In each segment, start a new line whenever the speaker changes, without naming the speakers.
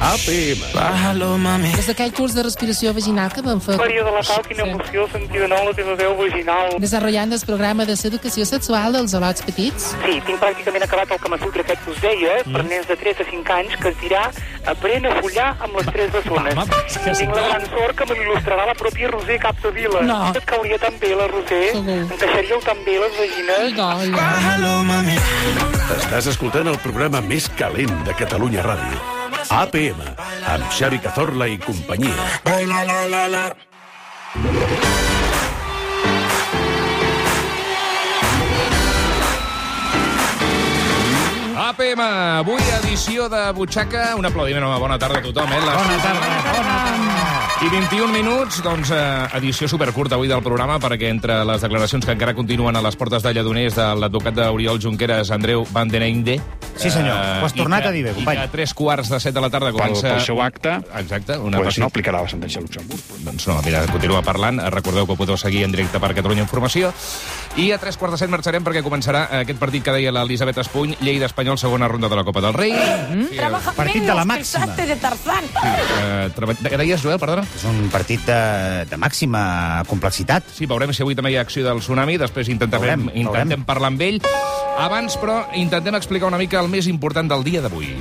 APM.
Bájalo, mami.
Des d'aquell curs de respiració vaginal que vam fer...
Maria de la Pau, quina emoció sentir de nou la teva veu vaginal.
Desenvolupant el programa de seducació sexual dels al·lots petits.
Sí, tinc pràcticament acabat el Kamasutra aquest que us deia, mm. per nens de 3 a 5 anys, que es dirà Aprèn a follar amb les tres bessones.
va, va, és que sí.
Tinc la gran sort que me l'il·lustrarà la pròpia Roser Capdevila.
No.
Et cauria tan bé la Roser,
Segur.
encaixaríeu tan bé les
Ai,
vagines.
doi.
Bájalo, mami.
Estàs escoltant el programa més calent de Catalunya Ràdio. APM, amb Xavi Cazorla i companyia.
Baila, la, la, la.
APM, avui edició de Butxaca. Un aplaudiment, home, bona tarda a tothom, eh? Les... Bona tarda. I 21 minuts, doncs, eh, edició supercurta avui del programa, perquè entre les declaracions que encara continuen a les portes de Lledoners de l'advocat d'Oriol Junqueras, Andreu Van den Einde...
Sí, senyor. Ho has
i
tornat
que-
a dir bé, company.
I que a tres quarts de set de la tarda
Pel,
comença...
pel seu acte,
Exacte, una
pues
passi-
no aplicarà la sentència de Luxemburg. però-
doncs no, mira, continua parlant. Recordeu que ho podeu seguir en directe per Catalunya Informació. I a tres quarts de set marxarem perquè començarà aquest partit que deia l'Elisabet Espuny, Lleida Espanyol, segona ronda de la Copa del Rei. Mm -hmm.
Trabaja
Partit de la màxima.
Pensaste de Tarzán.
eh, treba... de- Deies, Joel, perdona?
És un partit de, de màxima complexitat.
Sí, veurem si avui també hi ha acció del tsunami, després intentarem,
Veurem,
veurem,
veurem.
intentem parlar amb ell. Abans, però, intentem explicar una mica el més important del dia d'avui.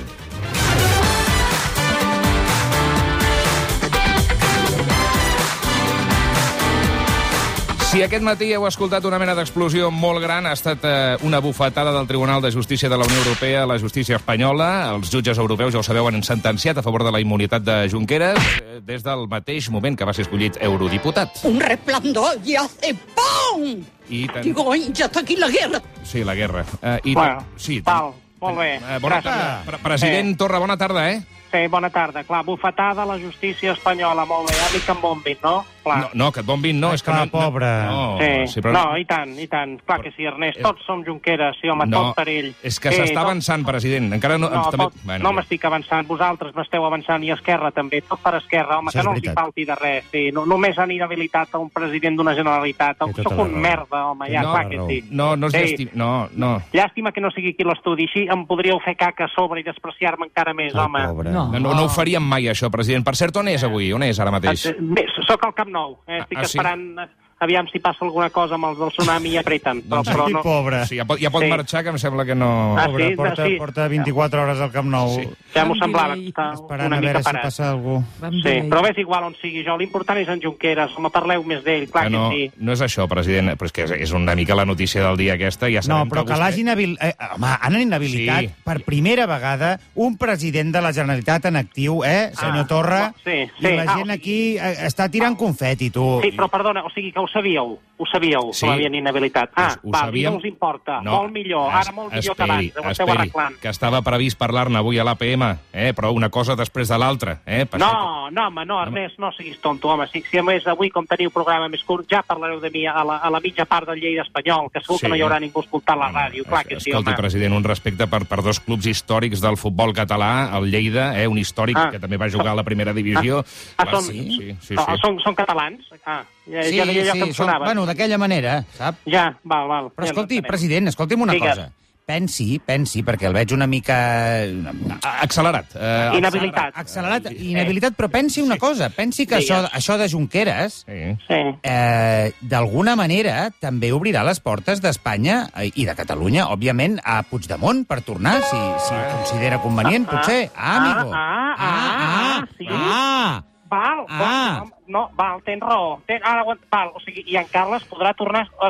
Si aquest matí heu escoltat una mena d'explosió molt gran, ha estat eh, una bufetada del Tribunal de Justícia de la Unió Europea a la justícia espanyola. Els jutges europeus, ja ho sabeu, han sentenciat a favor de la immunitat de Junqueras eh, des del mateix moment que va ser escollit eurodiputat.
Un resplandor y hace ¡pum!
I tan-
Digo, "Ay, ya está aquí la guerra.
Sí, la guerra. Eh, i
Bueno,
sí,
Pau, molt bé.
Eh, bona tarda. Pre President Torra, bona tarda, eh?
Sí, bona tarda. Clar, bufetada a la justícia espanyola, molt bé. A mi que em bombin, no? Clar.
No, no, que et bombin, no, és que
clar,
no...
pobre.
No,
Ah. Sí.
sí, però...
no, i tant, i tant. Clar que sí, Ernest, tots som Junqueras, sí, home,
no,
tot perill.
és que
sí,
s'està
tot-
avançant, president. Encara no...
No,
ens-
tot, no
ja.
m'estic avançant, vosaltres m'esteu avançant i Esquerra també, tot per Esquerra, home,
Això
que
és
no els hi
veritat.
falti de res, sí, no, només han inhabilitat a un president d'una Generalitat, oh,
Té tota
sóc
la
un
raó.
merda, home, ja,
No,
clar que sí.
No, no es
Sí.
llesti... No, no.
Llàstima que no sigui aquí l'estudi, així em podríeu fer caca a sobre i despreciar-me encara més, home.
pobre.
No.
No,
Ah.
no ho faríem mai, això, president. Per cert, on és avui? On és ara mateix?
Eh, Bé, sóc al Camp Nou. Eh? Estic
Ah,
ah,
sí?
esperant eh, aviam si passa alguna cosa amb els del tsunami i apreten. Però,
Doncs
però
Quin
no.
pobre.
Sí, ja pot, ja pot
Sí.
marxar, que em sembla que no...
Ah,
Pobre,
sí,
porta,
sí.
porta 24 hores al Camp Nou
Sí.
Ja m'ho semblava
delay.
que estava
esperant
una
a veure
mica
si
parat.
passa algú.
Sí, però és igual on sigui jo. L'important és en Junqueras. No parleu més d'ell, clar
Que no,
que sí.
no és això, president, però és que és, és una mica la notícia del dia aquesta, ja
No,
sabem
però que
vostè-
l'hagin habil... eh, home, han inhabilitat
Sí.
sí. per primera vegada un president de la Generalitat en actiu, eh, senyor
Ah,
Torra?
sí, sí.
I la
Ah,
gent
o sigui-
aquí eh, està tirant confeti, tu.
Sí, però perdona, o sigui que ho sabíeu, ho sabíeu,
Sí.
que l'havien inhabilitat. Ah,
Ho
va,
sabíem.
no us importa, molt millor,
es-
ara molt millor que abans, eh, ho esteu
esperi,
arreglant.
que estava previst parlar-ne avui a l'APM, eh? però una cosa després de l'altra. Eh? Per això
No, no, home, no, Ernest, no siguis tonto, home. Si, si a més avui, com teniu programa més curt, ja parlareu de mi a la, a la mitja part del Lleida Espanyol, que segur
Sí.
que no hi haurà ningú escoltant la
Home,
ràdio, clar que sí,
Escolti,
home.
president, un respecte per, per dos clubs històrics del futbol català, el Lleida, eh, un històric ah.
Ah.
que també va jugar a la primera divisió.
Ah,
Va,
són,
sí, sí, sí.
Ah,
sí.
Són, són catalans? Ah, ja, sí, ja deia allò sí, que em
són,
sonava.
bueno, d'aquella manera, sap?
Ja, val, val.
Però
ja
escolti,
l'entenem.
president, escolti'm una
Digues.
cosa. Pensi, pensi, perquè el veig una mica...
Ah, Accelerat. Eh,
Inhabilitat.
Accelerat, inhabilitat, però pensi una cosa. Pensi que
Digues.
això, això de Junqueras
Sí.
Sí.
eh, d'alguna manera també obrirà les portes d'Espanya eh, i de Catalunya, òbviament, a Puigdemont per tornar, si, si ho considera convenient,
Ah,
potser. Ah, amigo.
ah, ah, ah, sí.
ah.
Val,
Ah.
val, no, val, tens raó. Ten, ara, ho- val, o sigui, i en Carles podrà tornar a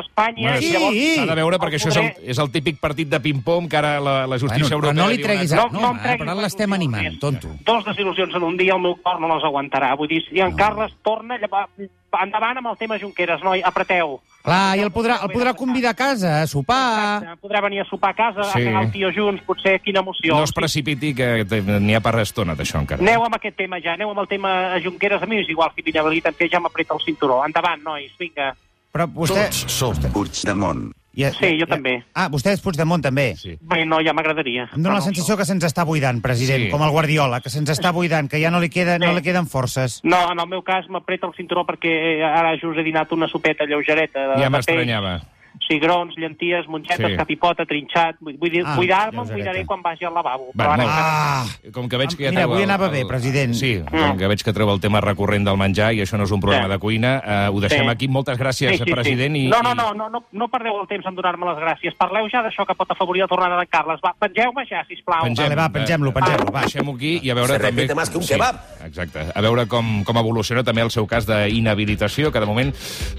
Bueno,
Espanya i
Sí.
eh, llavors...
S'ha de veure perquè això és el,
Podré-
és el típic partit de ping-pong que ara la, la justícia
Bueno, però
europea...
no li
diu una
treguis...
cosa.
A...
No,
No,
no em
home,
treguis
però ara
les
l'estem
il·lusions,
animant,
eh?
tonto.
Dos desil·lusions en un dia, el meu cor no les aguantarà. Vull dir, si en
No.
Carles torna, llavors, endavant amb el tema Junqueras, noi, apreteu.
Clar, i el podrà, el podrà convidar a casa, a sopar...
Exacte, podrà venir a sopar a casa,
Sí.
a cagar el tio junts, potser, quina emoció.
No es
Sí,
precipiti, que te- n'hi ha per estona, d'això, encara.
Aneu amb aquest tema ja, aneu amb el tema a Junqueras, a mi és igual si m'inhabiliten, que ja m'apreta el cinturó. Endavant, nois, vinga.
Però vostè...
Tots som Puigdemont.
Ja,
Sí, jo també.
Ah, vostè és Puigdemont també.
Sí.
Bé, no, ja m'agradaria.
Em dóna
Però
la
no.
sensació que se'ns està buidant, president,
Sí.
com el Guardiola, que se'ns està buidant, que ja no li, queda, no
Sí.
li queden forces.
No, en el meu cas m'apreta el cinturó perquè eh, ara just he dinat una sopeta lleugereta. De,
Ja
de peix.
m'estranyava.
cigrons, llenties, mongetes,
Sí.
sí. capipota, trinxat... Vull, vull dir,
Ah,
ah, cuidar-me'n,
llosereta.
cuidaré quan vagi al lavabo.
Va,
Però ara
molt
encara-
Ah!
Com que veig que ja
Mira,
treu
avui
el-
anava
el-
bé, president.
Sí, com que veig que treu el tema recurrent del menjar, i això no és un problema
Sí.
de cuina, eh, ho deixem
Sí.
aquí. Moltes gràcies, president. I,
No, no, no,
i-
no, no, no perdeu el temps en donar-me les gràcies. Parleu ja d'això que pot afavorir la tornada d'en Carles. Va, pengeu-me ja, sisplau.
Pengem,
Vale, va, pengem-lo,
eh,
pengem-lo, va.
Deixem-ho aquí i a veure
Se
també...
repite más que un kebab.
Exacte. A veure com, com evoluciona també el seu cas d'inhabilitació, que de moment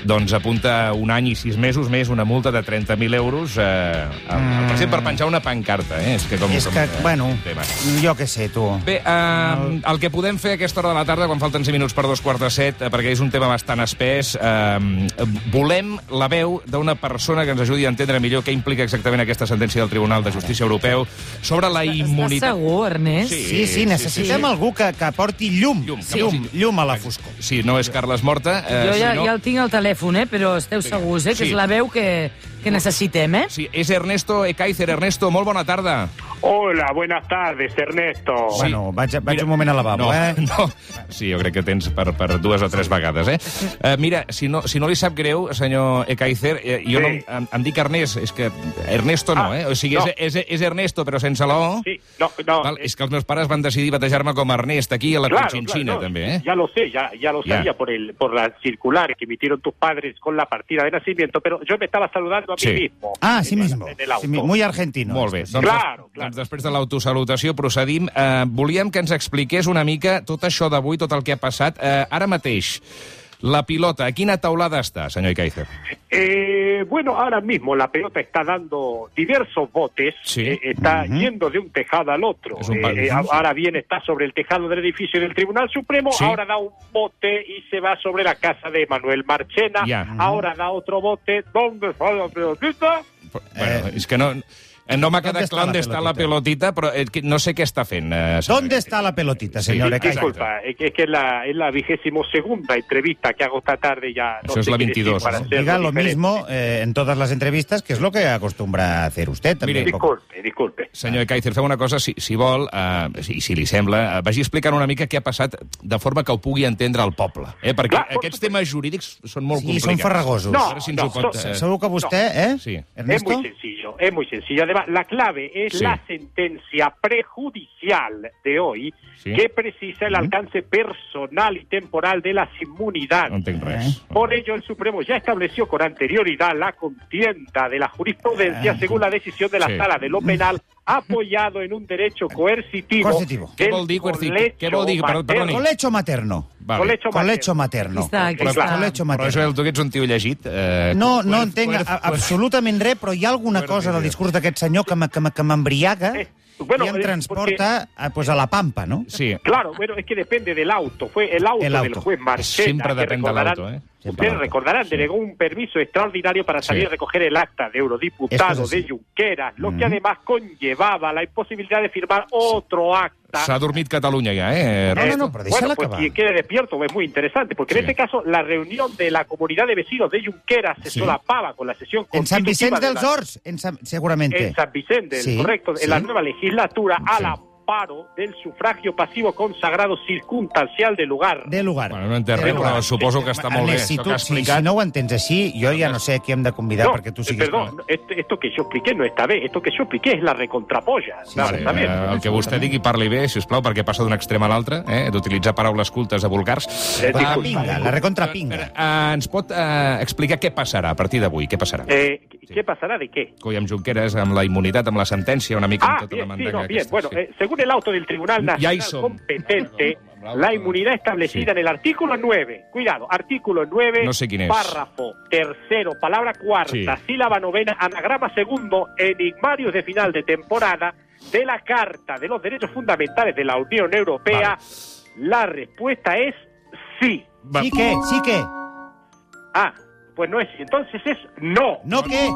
doncs, apunta un any i sis mesos més una multa de 30.000 euros eh, al, al president per penjar una pancarta. Eh? És que, com,
Mm. És
com,
que,
eh,
bueno,
tema.
jo què sé, tu.
Bé, eh, el que podem fer a aquesta hora de la tarda, quan falten 5 minuts per dos quarts de set, eh, perquè és un tema bastant espès, eh, volem la veu d'una persona que ens ajudi a entendre millor què implica exactament aquesta sentència del Tribunal de Justícia Europeu sobre la immunitat...
segur, Ernest?
Sí, sí, necessitem algú que, que porti llum,
Llum,
llum,
que
llum,
posi-
llum a la foscor.
Sí, no és Carles Morta. Eh,
jo ja,
sinó-
ja el tinc al telèfon, eh? però esteu segurs eh? que
Sí.
és la veu que, que necessitem, eh?
Sí, és Ernesto Ekaizer. Ernesto, molt bona tarda.
Hola, buenas tardes, Ernesto.
Sí.
Bueno, vaig, a- vaig un moment al lavabo,
no,
eh?
No. Sí, jo crec que tens per, per dues o tres vegades, eh? eh mira, si no, si no li sap greu, senyor Ekaizer, eh, jo
Sí.
no, em, em dic Ernest, és que Ernesto no,
Ah,
eh? O sigui,
no.
és, és, és Ernesto, però sense la O.
Sí, no, no. eh,
Val, és que els meus pares van decidir batejar-me com a Ernest, aquí a la
Claro,
Cochinchina,
claro, no,
també, eh?
Ya lo sé, ya, ya lo
Ya.
sabía por el por la circular que emitieron tus padres con la partida de nacimiento, pero yo me estaba saludando a mí
Sí.
mismo.
Ah, sí
En el-
mismo.
en el auto.
Sí, mi- muy argentino.
Molt bé. Doncs,
Claro,
doncs,
claro.
doncs després de l'autosalutació procedim. Eh, volíem que ens expliqués una mica tot això d'avui, tot el que ha passat. Eh, ara mateix, la pilota, a quina taulada està, senyor Ikaizer?
Eh, bueno, ahora mismo la pelota está dando diversos botes,
Sí.
eh, está yendo de un tejado al otro.
Es un
Eh,
pal-
eh, a- ahora bien está sobre el tejado del edificio del Tribunal Supremo,
Sí.
ahora da un bote y se va sobre la casa de Manuel Marchena,
Ya.
ahora da otro bote, ¿dónde está la pelotita?
Eh, bueno, és que no... eh, No m'ha
¿Dónde
quedat
está
clar on
la
està la pelotita, però eh, que no sé què està fent. Eh, senyor
¿Dónde está la pelotita,
Sí,
señor
sí,
Ekaizer?
exacto.
Disculpa, es que es, que es la, es la vigésimo segunda entrevista que hago esta tarde ya.
Eso es la
qué decir
22,
para
¿no?
hacerlo
Diga lo
diferente.
mismo eh, en todas las entrevistas, que es lo que acostumbra hacer usted también.
Mire,
un poco.
Disculpe, disculpe.
Senyor Kaiser, fem una cosa, si, si vol, eh, si, si li sembla, eh, vagi explicant una mica què ha passat de forma que ho pugui entendre el poble. Eh? Perquè Clar,
Clar, por
aquests
supuesto.
temes jurídics són molt
Sí,
complicats.
són farragosos.
A
No,
veure si ens
no,
ho pot...
no,
eh,
Segur que vostè, eh?
Sí.
Es
Ernesto?
muy sencillo, es muy sencillo. Además, la clave es
Sí.
la sentencia prejudicial de hoy
Sí.
que precisa el alcance personal y temporal de las inmunidades.
No entenc
Eh?
res.
Por ello, el Supremo ya estableció con anterioridad la contienda de la jurisprudencia según la decisión de la
Ah, Sí.
sala de lo penal, apoyado en un derecho coercitivo.
Coercitivo.
Què
del
vol dir coerci-
colecho
què vol dir? Perdó, perdoni.
materno.
Colecho materno.
Vale.
Colecho
Colecho
materno.
materno.
Aquí està, aquí
Però-
està.
Colecho
Però,
materno.
Joel, tu que ets un tio llegit... Eh,
No, no
coer-
entenc
coer-
a-
coer-
absolutament res, però hi ha alguna
Fuerte
cosa del
idea.
discurs d'aquest senyor que me- que me- que m'embriaga
Eh, bueno,
i em
eh,
transporta a, pues, a la pampa, no?
Sí,
Claro, bueno, es que depende del auto. Fue el auto,
El auto.
del juez Marchena.
Siempre
que
depende del
recordarán-
auto, ¿eh? Siempre del
Ustedes
auto.
recordarán, delegó un permiso extraordinario para salir
Sí.
a recoger el acta de
Esto
eurodiputado
es así.
de Junqueras, lo
Mm.
que además conllevaba la imposibilidad de firmar otro acta.
s'ha dormit Catalunya ja, eh?
No, no,
Eh,
no, pero déjala
bueno, pues,
acabar.
quien quede despierto es muy interesante, porque
Sí.
en este caso la reunión de la comunidad de vecinos de Junqueras se
Sí.
solapaba con la sesión
En Sant
constitutiva
Vicenç
de
dels
la-
Horts, en San, seguramente.
en San Vicente,
Sí,
correcto,
sí.
en la nueva legislatura
Sí.
al amparo del sufragio pasivo consagrado circunstancial del lugar.
De lugar.
Bueno, no
De
entenc,
lugar.
però suposo que està molt bé.
Ernest, si,
això
tu,
que ha
si,
explicat.
si no ho entens així, jo ja no sé a qui hem de convidar
No,
perquè tu
eh,
siguis...
perdón, no, esto, esto que yo expliqué no está bien, esto que yo expliqué es la recontrapolla.
Sí,
nada,
Vale,
está bien.
eh, el que vostè digui parli bé, si us plau, perquè passa d'un extrem a l'altre, eh, d'utilitzar paraules cultes a vulgars.
Eh,
Va,
La
disculpa.
pinga, la recontrapinga.
eh, eh, ens pot eh, explicar què passarà a partir d'avui? Què passarà?
Eh, ¿Qué pasará de qué?
Coi, amb Junqueras, amb la immunitat, amb la sentència, una mica
Ah,
amb tota
bien,
la
sí,
mandanga.
no, bien.
aquesta,
Bueno,
sí.
eh, según el auto del Tribunal
Ya
Nacional
hizo.
competente,
Bravo.
la inmunidad establecida
Sí.
en el artículo 9, cuidado, artículo 9,
No sé quién es.
párrafo tercero, palabra cuarta,
Sí.
sílaba novena, anagrama segundo, enigmarios de final de temporada de la Carta de los Derechos Fundamentales de la Unión Europea, la respuesta es sí.
eh, Va-
Sí que, sí que.
Ah, pues no es, entonces es no.
No que.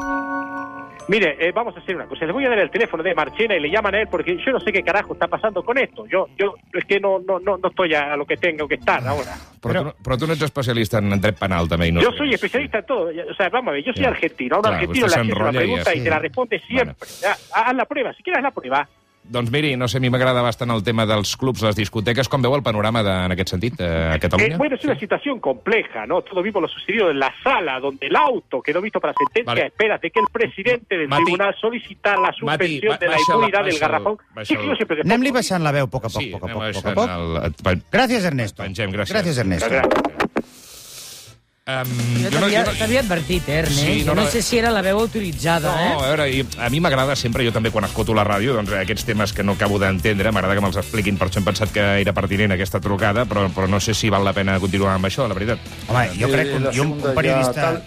Mire, eh, vamos a hacer una cosa. Les voy a dar el teléfono de Marchena y le llaman a él porque yo no sé qué carajo está pasando con esto. Yo, yo es que no, no, no, no estoy a lo que tengo que estar ahora.
Però, tu, no- però tu no ets especialista en dret penal, també. I no
yo
sé.
soy especialista en todo. O sea, vamos a ver, yo soy
Ya.
argentino. A un
Claro, usted
argentino le
se
haces una
enrolla y
pregunta y,
así.
te la responde siempre. Ya, Haz la prueba, si quieres haz la prueba.
Doncs miri, no sé, a mi m'agrada bastant el tema dels clubs, les discoteques. Com veu el panorama de, en aquest sentit eh, a Catalunya?
Eh, bueno, es una situación compleja, ¿no? Todos vimos lo sucedido en la sala, donde el auto quedó visto para sentencia
Vale.
a espera de que el presidente del
Mati.
tribunal solicitara la suspensión
ba-
de la
baixa-la,
impunidad del
baixa-la,
garrafón.
baixa-la.
Sí, que yo siempre que
Anem-li
puedo-
baixant la veu a poc a poc,
sí,
poc a
anem
poc, poc, a
baixant
poc.
El... et pen-
Gràcies, Ernesto.
Pengem, gràcies.
Gràcies, Ernesto.
Gracias.
Em,
Jo
jo no-
t'havia
jo no-
t'havia advertit, eh, Ernest?
Sí, no,
no,
no.
sé si era la veu autoritzada,
No, a
eh?
veure, i a mi m'agrada sempre, jo també quan escoto la ràdio, doncs eh, aquests temes que no acabo d'entendre, m'agrada que me'ls expliquin, per això hem pensat que era pertinent aquesta trucada, però, però no sé si val la pena continuar amb això, la veritat.
Home, jo
Eh,
crec que un,
la
jo, un
segunda ja
periodista...
tal.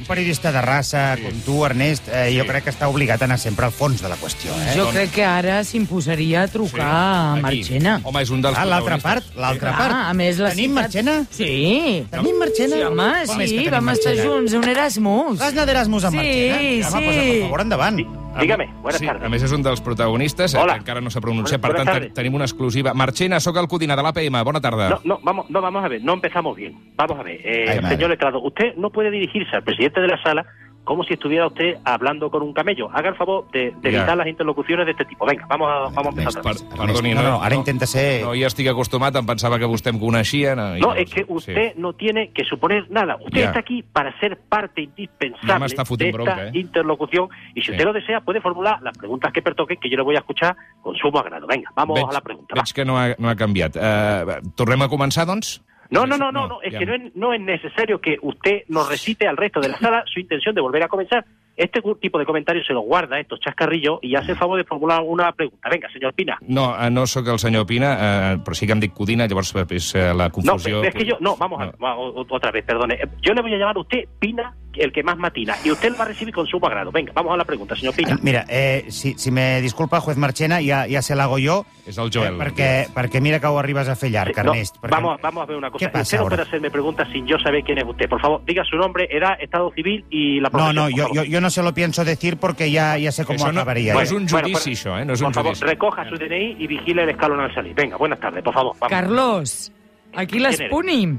Un periodista de raça sí. com tu, Ernest, eh, sí. jo
Sí.
crec que està obligat a anar sempre al fons de la qüestió. Eh?
Jo crec que ara s'imposaria a trucar a
Aquí.
Marchena.
Home, és un dels
Ah, l'altra part,
protagonistes.
l'altra part.
Ah, a més, la
Tenim
ciutat-
Marchena?
Sí.
Tenim Marchena?
Sí, home,
Com és que
sí,
tenim
vam estar
Marchena?
junts, un Erasmus.
Vas anar d'Erasmus amb
Sí,
Marchena? Home,
sí.
doncs, per favor, endavant.
Dígame, buenas
sí,
tardes.
A més, és un dels protagonistes, eh,
Hola.
que encara no s'ha pronunciat, per
Buenas
tant, te-
tardes.
tenim una exclusiva. Marchena, sóc el Codina de l'APM, bona tarda.
No, no, vamos, no, vamos a ver, no empezamos bien. Vamos a ver, eh,
Ay, madre.
señor letrado, usted no puede dirigirse al presidente de la sala como si estuviera usted hablando con un camello. Haga el favor de, de
Ya.
evitar las interlocuciones de este tipo. Venga, vamos a, vamos a empezar. otra vez.
Per, perdoni,
no, no, ara intenta ser-
Eh. No, ja estic acostumat, em pensava que vostè em coneixia. No, i
No,
no,
es que
sí.
usted no tiene que suponer nada. Usted
Ya.
está aquí para ser parte
Ya
indispensable
me está
de
futiendo
esta
bronca, ¿eh?
interlocución. Y si
Sí.
usted lo desea, puede formular las preguntas que pertoquen, que yo le voy a escuchar con sumo agrado. Venga, vamos
veig,
a la pregunta. va.
Veig que no ha, no ha canviat. Uh, tornem a començar, doncs?
No, no, no, no, no, es
ja.
que no es, no es necesario que usted nos recite al resto de la sala su intención de volver a comenzar. Este cu- tipo de comentarios se los guarda, estos chascarrillos, y hace el favor de formular una pregunta. Venga, señor Pina.
No, eh, no sóc el senyor Pina, eh, pero sí que em dic Codina, llavors eh, és eh, la
No,
confusió...
pero es que yo, no, vamos a-
No.
va, o- o- otra vez, perdone. Eh, Yo le voy a llamar a usted Pina, el que más matina, y usted lo va a recibir con sumo agrado. Venga, vamos a la pregunta, señor Pina.
Mira, eh, si, si me disculpa, juez Marchena, ja, ja se l'hago jo,
És el Joel.
eh, perquè, perquè mira que ho arribes a fer llarg,
No,
Ernest. perquè...
vamos, vamos a ver una cosa.
¿Qué pasa
usted no
ahora?
puede hacerme preguntas sin yo saber quién es usted. Por favor, diga su nombre, edad, estado civil y la
No,
profesión.
no,
por
yo,
favor.
yo, yo no se lo pienso decir porque ya, ya sé cómo
Eso no-
acabaría.
no
¿eh?
es un
Bueno,
judici,
bueno,
això, eh? No és
por
un
favor,
judici.
recoja su DNI y vigile el escalón al salir. Venga, buenas tardes, por favor. vamos.
Carlos, aquí les
¿Quién eres?
punim.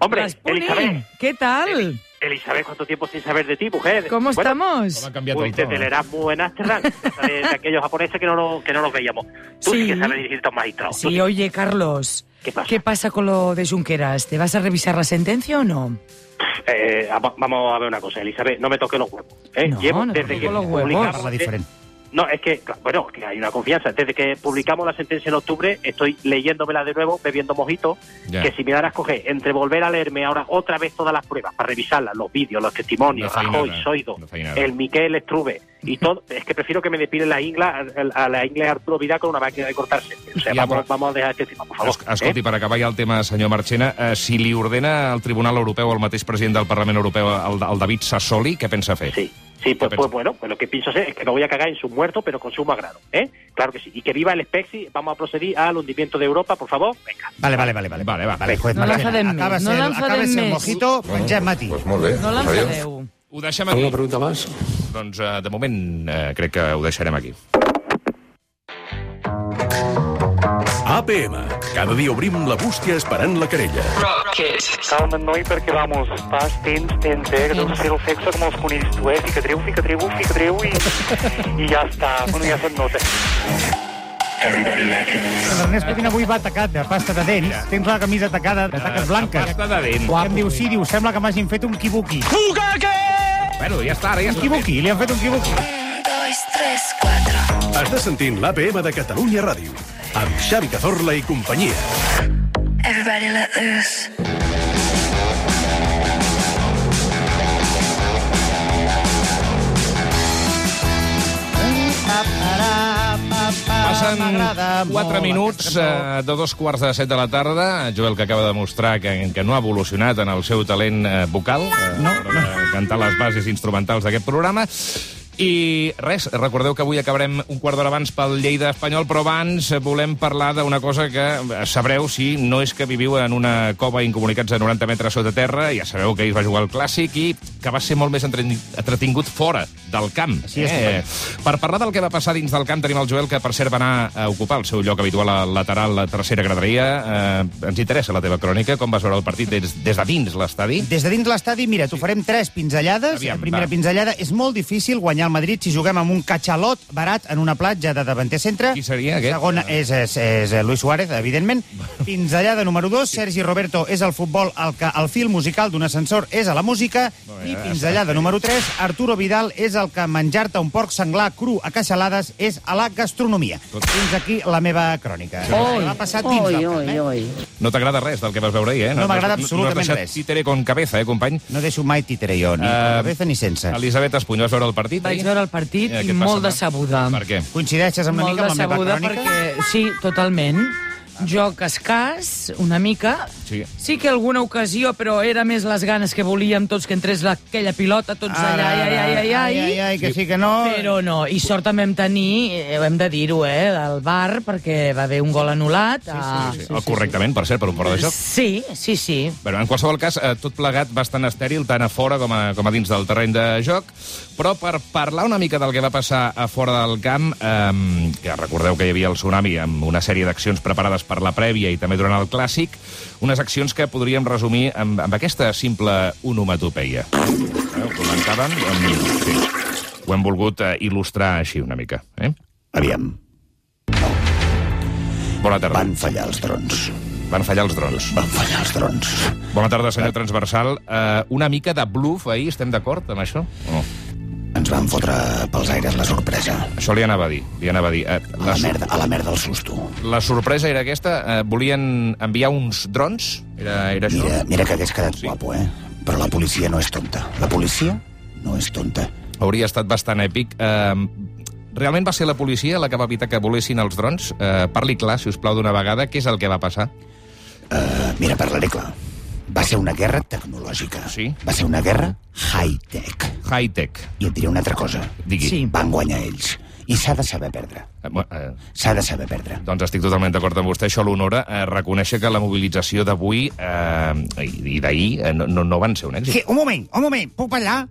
Hombre,
les punim.
Elizabeth.
¿Qué tal?
Elizabeth, ¿cuánto tiempo sin saber de ti, mujer?
¿Cómo
Bueno, pues
estamos?
Com ha canviat
Uy,
el to.
desde el Erasmus en Amsterdam, esa de, de aquellos japoneses que no, nos- que no nos veíamos. Tú sí,
Sí.
que sabes dirigirte a un magistrado. Tú
Sí, oye, Carlos.
¿Qué pasa?
con lo de Junqueras? ¿Te vas a revisar la sentencia o no?
Eh, va- vamos a ver una cosa, Elizabeth, no me toques los huevos. ¿eh?
No,
Llevo
no te
desde
toco
que
los huevos.
publicamos-
Parla diferent.
No, es que, claro, bueno, que hay una confianza. Desde que publicamos la sentencia en octubre, estoy leyéndomela de nuevo, bebiendo mojito,
Ja.
que si me darás coger entre volver a leerme ahora otra vez todas las pruebas para revisarlas, los vídeos, los testimonios,
No
Rajoy,
feinada,
Soido,
no feinada.
el Miquel Estrube y todo, es que prefiero que me despilen la ingla, a la ingla Arturo Vidal con una máquina de cortarse. O sea,
Ya, pues,
vamos,
pero-
vamos a dejar este tema, por favor.
Es- Escolti,
¿eh?
per acabar ja el tema, senyor Marchena, eh, si li ordena al Tribunal Europeu el mateix president del Parlament Europeu, el, el David Sassoli, què pensa fer?
Sí, sí, pues,
Yo
pues
pensé-
bueno, pues lo que pienso hacer es que me voy a cagar en sus muertos, pero con sumo agrado, ¿eh? Claro que sí. Y que viva el Spexi, vamos a proceder al hundimiento de Europa, por favor. Venga.
Vale, vale, vale. Vale,
Vale, va.
vale juez
No
Marchena,
l'enfadem més,
acabes
no
el,
l'enfadem
acabes el
més.
mojito, pengem matí.
Pues molt bé.
No
Adiós.
l'enfadeu.
Ho deixem aquí.
¿Alguna pregunta más?
Doncs, eh, de moment, eh, crec que ho deixarem aquí.
APM. Cada dia obrim la bústia esperant la querella.
Calma, noi, perquè, vamos, pas, tens, tens, eh, que deus
Tens.
fer el sexe com els conills, tu, eh? Fica treu, fica treu, fica treu i, i ja està. Bueno, ja se't nota.
L'Ernest Codina avui va tacat de pasta de dents. Tens la camisa tacada de taques blanques.
Pasta de dent.
I em diu, sí, diu, sembla que m'hagin fet un kibuki.
Bueno, ja està, ara ja
Un
està.
kibuki, li han fet un kibuki.
Estàs sentint l'APM de Catalunya Ràdio. Amb Xavi Cazorla i companyia.
Passen
M'agrada
4
molt aquesta
minuts
cançó.
eh, de dos quarts de set de la tarda. Joel, que acaba de demostrar que, que no ha evolucionat en el seu talent eh, vocal, eh, no, no. cantar les bases instrumentals d'aquest programa. I res, recordeu que avui acabarem un quart d'hora abans pel Lleida Espanyol, però abans eh, volem parlar d'una cosa que eh, sabreu si no és que viviu en una cova incomunicats a 90 metres sota terra, ja sabeu que ahir es va jugar el Clàssic i que va ser molt més entre- entretingut fora del camp.
Així és,
eh? Per parlar del que va passar dins del camp tenim el Joel, que per cert va anar a ocupar el seu lloc habitual a lateral, la tercera graderia. Eh, ens interessa la teva crònica, com vas veure el partit des, des de dins l'estadi?
Des de dins l'estadi, mira, t'ho farem tres pinzellades.
Aviam,
la primera
va.
pinzellada, és molt difícil guanyar guanyar el Madrid si juguem amb un catxalot barat en una platja de davanter centre.
Qui seria aquest?
Segon és, és, és eh, Luis Suárez, evidentment. Pinzellada número 2, Sergi Roberto és el futbol el que el fil musical d'un ascensor és a la música. I pinzellada número 3, Arturo Vidal és el que menjar-te un porc senglar cru a caixalades és a la gastronomia. Fins aquí la meva crònica.
Oi,
Va passar dins del
oi,
camp,
oi,
eh?
oi.
No t'agrada res del que vas veure ahir, eh?
No m'agrada
has-
absolutament
no has
res.
deixat títere con cabeza, eh, company?
No deixo mai títere jo, ni
Eh,
uh, cabeza ni sense.
Elisabet Espuny, vas veure el partit?
Vaig
ahir?
veure el partit
Eh,
i
què et va
molt
semblar?
decebuda.
Per què?
Coincideixes amb una
Molt
mica amb la meva
decebuda
crònica?
perquè... Sí, totalment. Jo cascàs, una mica.
Sí.
sí que alguna ocasió, però era més les ganes que volíem tots que entrés la- aquella pilota, tots allà, ai, ai, ai, ai, ai.
ai, ai, que sí que no.
Però no, i sort també hem tenir, eh, ho hem de dir-ho, eh, del bar, perquè va haver un gol anul·lat. a-
Sí, oh, correctament, per cert, per un fora de joc.
Sí, sí, sí.
Bueno, en qualsevol cas, eh, tot plegat bastant estèril, tant a fora com a, com a dins del terreny de joc. Però per parlar una mica del que va passar a fora del camp, eh, que recordeu que hi havia el tsunami amb una sèrie d'accions preparades per la prèvia i també durant el clàssic, unes accions que podríem resumir amb, amb aquesta simple onomatopeia. Eh, ho comentaven... Amb... Sí. Ho hem volgut eh, il·lustrar així una mica. Eh?
Aviam,
Bona tarda.
van fallar els drons.
Van fallar els drons.
Van fallar els drons.
Bona tarda, senyor Transversal. Eh, una mica de bluff ahir, estem d'acord amb això? O no?
Ens van fotre pels aires la sorpresa.
Això li anava a dir. Li anava a dir.
A
Eh, la,
Ah,
la
sur-
merda, a la merda el susto.
la sorpresa era aquesta. Eh, volien enviar uns drons? Era, era això?
Mira, mira que hagués quedat guapo, eh? Però la policia no és tonta. La policia no és tonta.
Hauria estat bastant èpic. Eh, realment va ser la policia la que va evitar que volessin els drons? Eh, parli clar, si us plau, d'una vegada. Què és el que va passar?
Eh, Mira, parlaré clar. Va ser una guerra tecnològica.
Sí.
Va ser una guerra high-tech.
High-tech.
I et diré una altra cosa.
Digui.
Sí.
Van guanyar ells. I s'ha de saber perdre.
Eh, bo- eh,
S'ha de saber perdre.
Doncs estic totalment d'acord amb vostè. Això l'honora eh, reconèixer que la mobilització d'avui eh, i i d'ahir eh, no, no, no van ser un èxit.
Que, un moment, un moment, puc ballar?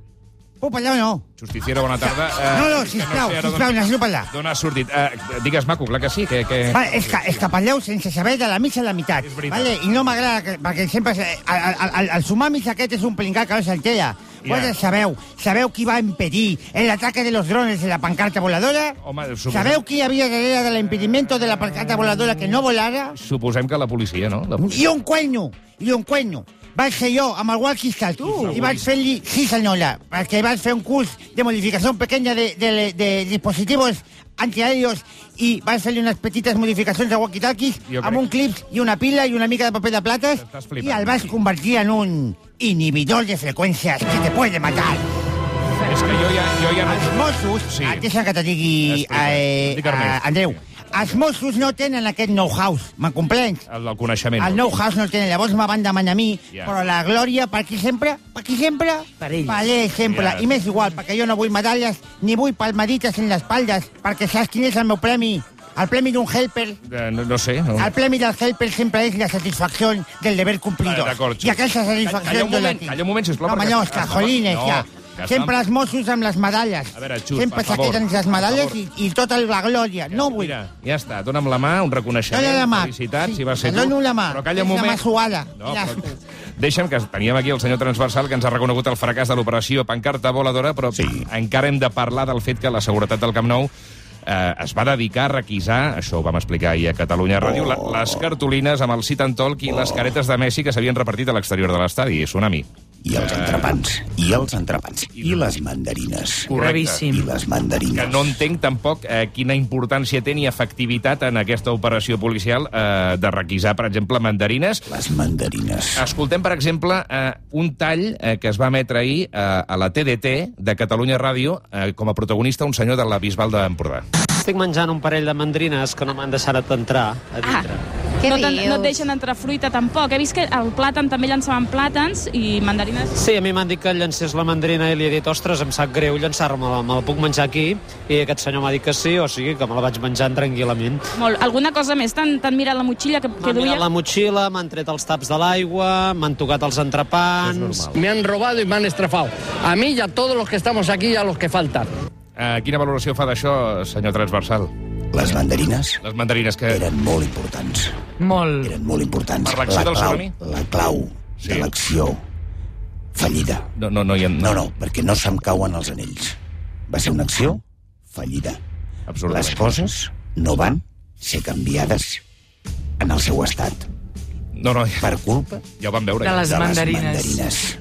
Puc ballar o no?
Justiciera, bona tarda.
No, no,
que
sisplau,
sé ara
sisplau,
d'on-
necessito ballar.
D'on ha sortit? Eh, digues, maco, clar que sí. Que, que...
Va, és que, és que parleu sense saber de la mitja a la meitat.
És veritat.
Vale? I no m'agrada, que- perquè sempre... se- El, el, el, el sumamis aquest és un plingat que no s'entera.
Ja.
Vosaltres sabeu, sabeu qui va impedir el ataque de los drones en la pancarta voladora?
Home, suposo-
sabeu qui hi havia darrere de l'impedimento de la pancarta voladora que no volara?
Suposem que la policia, no? La policia.
I un cuenyo, i un cuenyo. Vaig ser jo, amb el walkie-talkie, i vaig fer-li, sí senyora, perquè vaig fer un curs de modificació pequeña de, de, de dispositius antiaèrios i vaig fer-li unes petites modificacions de walkie-talkies
Jo crec.
amb un clip i una pila i una mica de paper de plates
Estàs
i
flipant.
el vaig convertir en un inhibidor de freqüències que te puede matar.
És que jo ja, jo ja
Els
no...
Mossos,
Sí.
sí. deixa que te digui,
Explica,
eh,
dic Ernest.
eh, Andreu, els Mossos no tenen aquest know-how, me comprens?
El del coneixement.
El nou house no el tenen, llavors me van demanar a mi,
Ja.
yeah. però la glòria per qui sempre? Per qui sempre?
Per ells.
Per ells sempre,
Ja.
yeah. i més igual, perquè jo no vull medalles, ni vull palmadites en les espatlles, perquè saps quin és el meu premi? El premi d'un helper.
Eh, no, no sé. No.
El premi del helper sempre és la satisfacció del deber
Vale,
cumplido.
Ah, d'acord,
I aquesta
Calla
satisfacció
un
jo la
moment,
tinc.
calla un moment, sisplau,
No,
perquè-
mallons, que
Ah,
jolines,
no,
ja.
ja
Sempre
està.
els Mossos amb les medalles.
A veure, Xus, per
Sempre
favor,
s'aqueten les
per
medalles
favor.
i, i tota la glòria. No vull.
Mira, ja està, dona'm la mà, un reconeixement,
Dóna la mà.
felicitats,
Sí,
si va ser
te
tu.
dono la mà.
Però calla un
És la
moment.
mà suada.
No,
Ja.
però... Deixa'm que teníem aquí el senyor transversal que ens ha reconegut el fracàs de l'operació Pancarta Voladora, però sí. encara hem de parlar del fet que la seguretat del Camp Nou eh, es va dedicar a requisar, això ho vam explicar ahir a Catalunya Ràdio, la, les cartolines amb el sit and talk i les caretes de Messi que s'havien repartit a l'exterior de l'estadi. Tsunami.
I els entrepans. I els entrepans. I les mandarines.
Gravíssim.
I les mandarines.
que no entenc tampoc eh, quina importància té ni efectivitat en aquesta operació policial eh, de requisar, per exemple, mandarines.
Les mandarines.
Escoltem, per exemple, eh, un tall eh, que es va emetre ahir eh, a la TDT de Catalunya Ràdio eh, com a protagonista un senyor de la Bisbal d'Empordà.
Estic menjant un parell de mandrines que no m'han deixat entrar a dintre.
Ah, Què
no, tan-
dius?
no et deixen entrar fruita tampoc. He vist que el plàtan també llançaven plàtans i mandarines.
Sí, a mi m'han dit que llancés la mandrina i li he dit, ostres, em sap greu llançar-me-la, me la puc menjar aquí? I aquest senyor m'ha dit que sí, o sigui que me la vaig menjant tranquil·lament.
Molt. Alguna cosa més? T'han t'han mirat la motxilla que, que
M'han
duia?
mirat la motxilla, m'han tret els taps de l'aigua, m'han tocat els entrepans...
Me han robado y me han estrafado. A mí y a todos los que estamos aquí y a los que faltan.
Eh, quina valoració fa d'això, senyor transversal?
Les mandarines
Les mandarines que...
eren molt importants.
Molt.
Eren molt importants.
Per l'acció
La
del
clau-
tsunami?
La clau
Sí.
de l'acció fallida.
No, no, no hi ha...
No, no, perquè no se'm cauen els anells. Va ser una acció fallida. Les coses no van ser canviades en el seu estat.
No, no.
Per culpa
ja ho vam veure.
De les mandarines.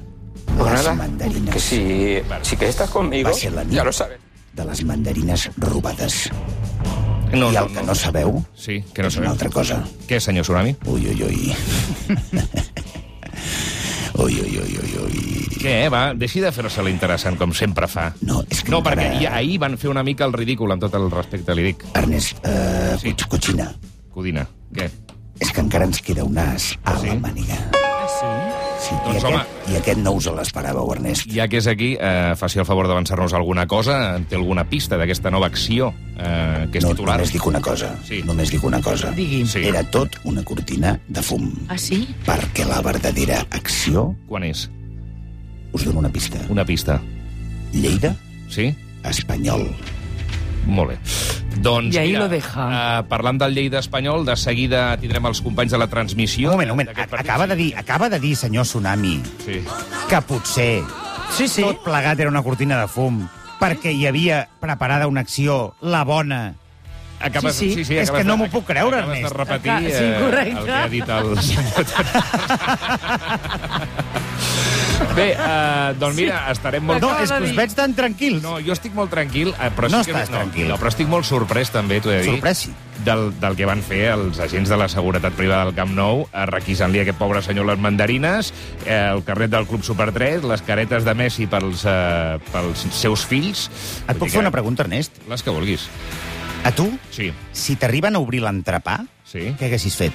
Las mandarinas. Que si, si que estás conmigo, ya lo sabes. De les mandarines robades. No, I el que no sabeu
sí, que no
és una altra cosa.
Què, senyor Tsunami?
Ui, ui, ui. ui, ui, ui, ui, ui.
Què, eh, va? Deixi de fer-se l'interessant, com sempre fa.
No, és que
No, perquè ahir, ahir van fer una mica el ridícul, amb tot el respecte, li dic.
Ernest, uh, sí. Cotxina.
Codina, què?
És que encara ens queda un as a sí? la màniga.
Ah,
Sí? Sí,
Ah, Doncs,
i, aquest, I aquest no us l'esperàveu, Ernest.
Ja que és aquí, eh, faci el favor d'avançar-nos alguna cosa. Té alguna pista d'aquesta nova acció eh, que és
No,
titular?
només dic una cosa.
Sí.
Només dic una cosa.
Digui.
Sí.
Era tot una cortina de fum,
Ah, sí?
perquè la verdadera acció...
Quan és?
Us dono una pista.
Una pista.
Lleida,
Sí?
espanyol.
Molt bé. Doncs,
I ahí
mira,
lo deja.
eh, parlant del Lleida espanyol, de seguida tindrem els companys de la transmissió. Un moment, un moment.
Acaba de dir, acaba de dir, senyor Tsunami,
Sí.
que potser
sí, sí.
tot plegat era una cortina de fum perquè hi havia preparada una acció, la bona.
Acabes, sí, sí. sí, sí
és
acabes
que no
de-
m'ho puc creure,
acabes
Ernest.
de repetir
Acá- sí,
eh,
correcte.
el que ha dit el senyor Bé, eh, doncs mira, estarem molt...
No, és que us veig tan tranquils.
No, jo estic molt tranquil, eh, però,
No
sí que,
estàs tranquil.
No, però estic molt sorprès, també, t'ho he de dir.
Sorprès, sí.
Del, del que van fer els agents de la seguretat privada del Camp Nou, eh, requisant-li a aquest pobre senyor les mandarines, eh, el carnet del Club Super 3, les caretes de Messi pels, eh, pels seus fills...
Et puc fer una pregunta, Ernest?
Les que vulguis.
A tu,
Sí.
si t'arriben a obrir l'entrepà,
Sí.
què haguessis fet?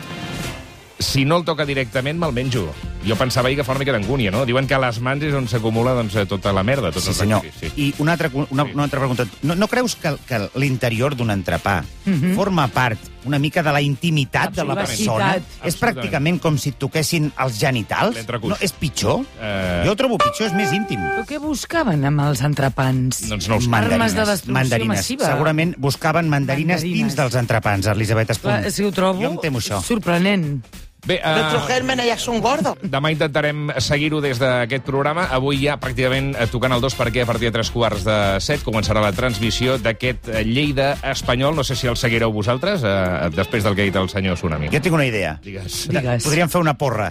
Si no el toca directament, me'l menjo. Jo pensava ahir que fa una mica d'angúnia, no? Diuen que a les mans és on s'acumula doncs, tota la merda. Tot
Sí, senyor.
Sí, sí.
I una altra, cu- una, una altra pregunta. No, no creus que, que l'interior d'un entrepà
Mhm.
forma part una mica de la intimitat de la persona?
Absolutament.
És
Absolutament.
pràcticament com si et toquessin els genitals?
L'entrecuix.
No, és pitjor?
Eh.
Jo ho trobo pitjor, és més íntim.
Però què buscaven amb els entrepans?
Doncs no ho sé.
Armes de destrucció
mandarines.
massiva.
Segurament buscaven mandarines,
Mandarines.
dins dels entrepans, Elisabet
Clar,
Espun.
és que ho trobo
Jo em temo això.
sorprenent.
Bé, eh,
gérmenes ya son gordos.
demà intentarem seguir-ho des d'aquest programa. Avui ja pràcticament eh, tocant el dos perquè a partir de tres quarts de set començarà la transmissió d'aquest eh, Lleida espanyol. No sé si el seguireu vosaltres, eh, després del que ha dit el senyor Tsunami.
Jo tinc una idea.
Digues.
Digues.
Podríem fer una porra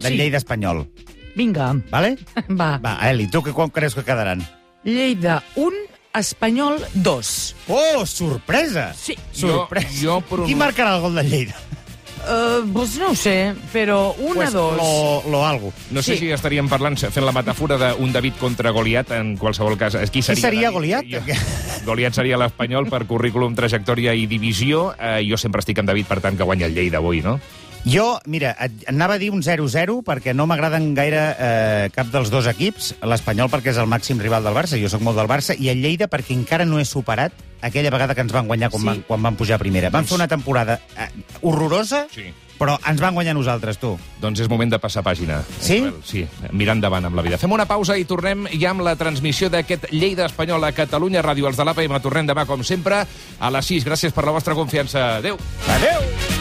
del
Sí.
Lleida espanyol.
Vinga,
Vale?
va.
Va, Eli, tu que quan creus que quedaran?
Lleida 1, Espanyol 2.
Oh, sorpresa!
Sí.
Sorpresa.
Jo, jo
Qui
pronuncio...
marcarà el gol del Lleida?
Uh, doncs no ho sé, però 1 a 2.
lo, lo algo.
No sé
Sí.
si estaríem parlant, fent la metàfora d'un David contra Goliat, en qualsevol cas. Qui seria,
seria
David?
Goliat?
Jo, Goliat seria l'espanyol per currículum, trajectòria i divisió. Eh, jo sempre estic amb David, per tant, que guanya el Lleida avui, no?
Jo, mira, et- anava a dir un 0-0 perquè no m'agraden gaire eh, cap dels dos equips. L'Espanyol perquè és el màxim rival del Barça, jo sóc molt del Barça, i el Lleida perquè encara no he superat aquella vegada que ens van guanyar quan,
Sí.
sí. van, quan van pujar a primera. Van
Doncs-
fer una temporada eh, horrorosa,
Sí.
però ens van guanyar nosaltres, tu.
Doncs és moment de passar pàgina.
Sí?
Joel, Sí, mirar endavant amb la vida. Fem una pausa i tornem ja amb la transmissió d'aquest Lleida Espanyol a Catalunya Ràdio. Els de l'APM tornem demà, com sempre, a les 6. Gràcies per la vostra confiança. Adéu.
Adéu!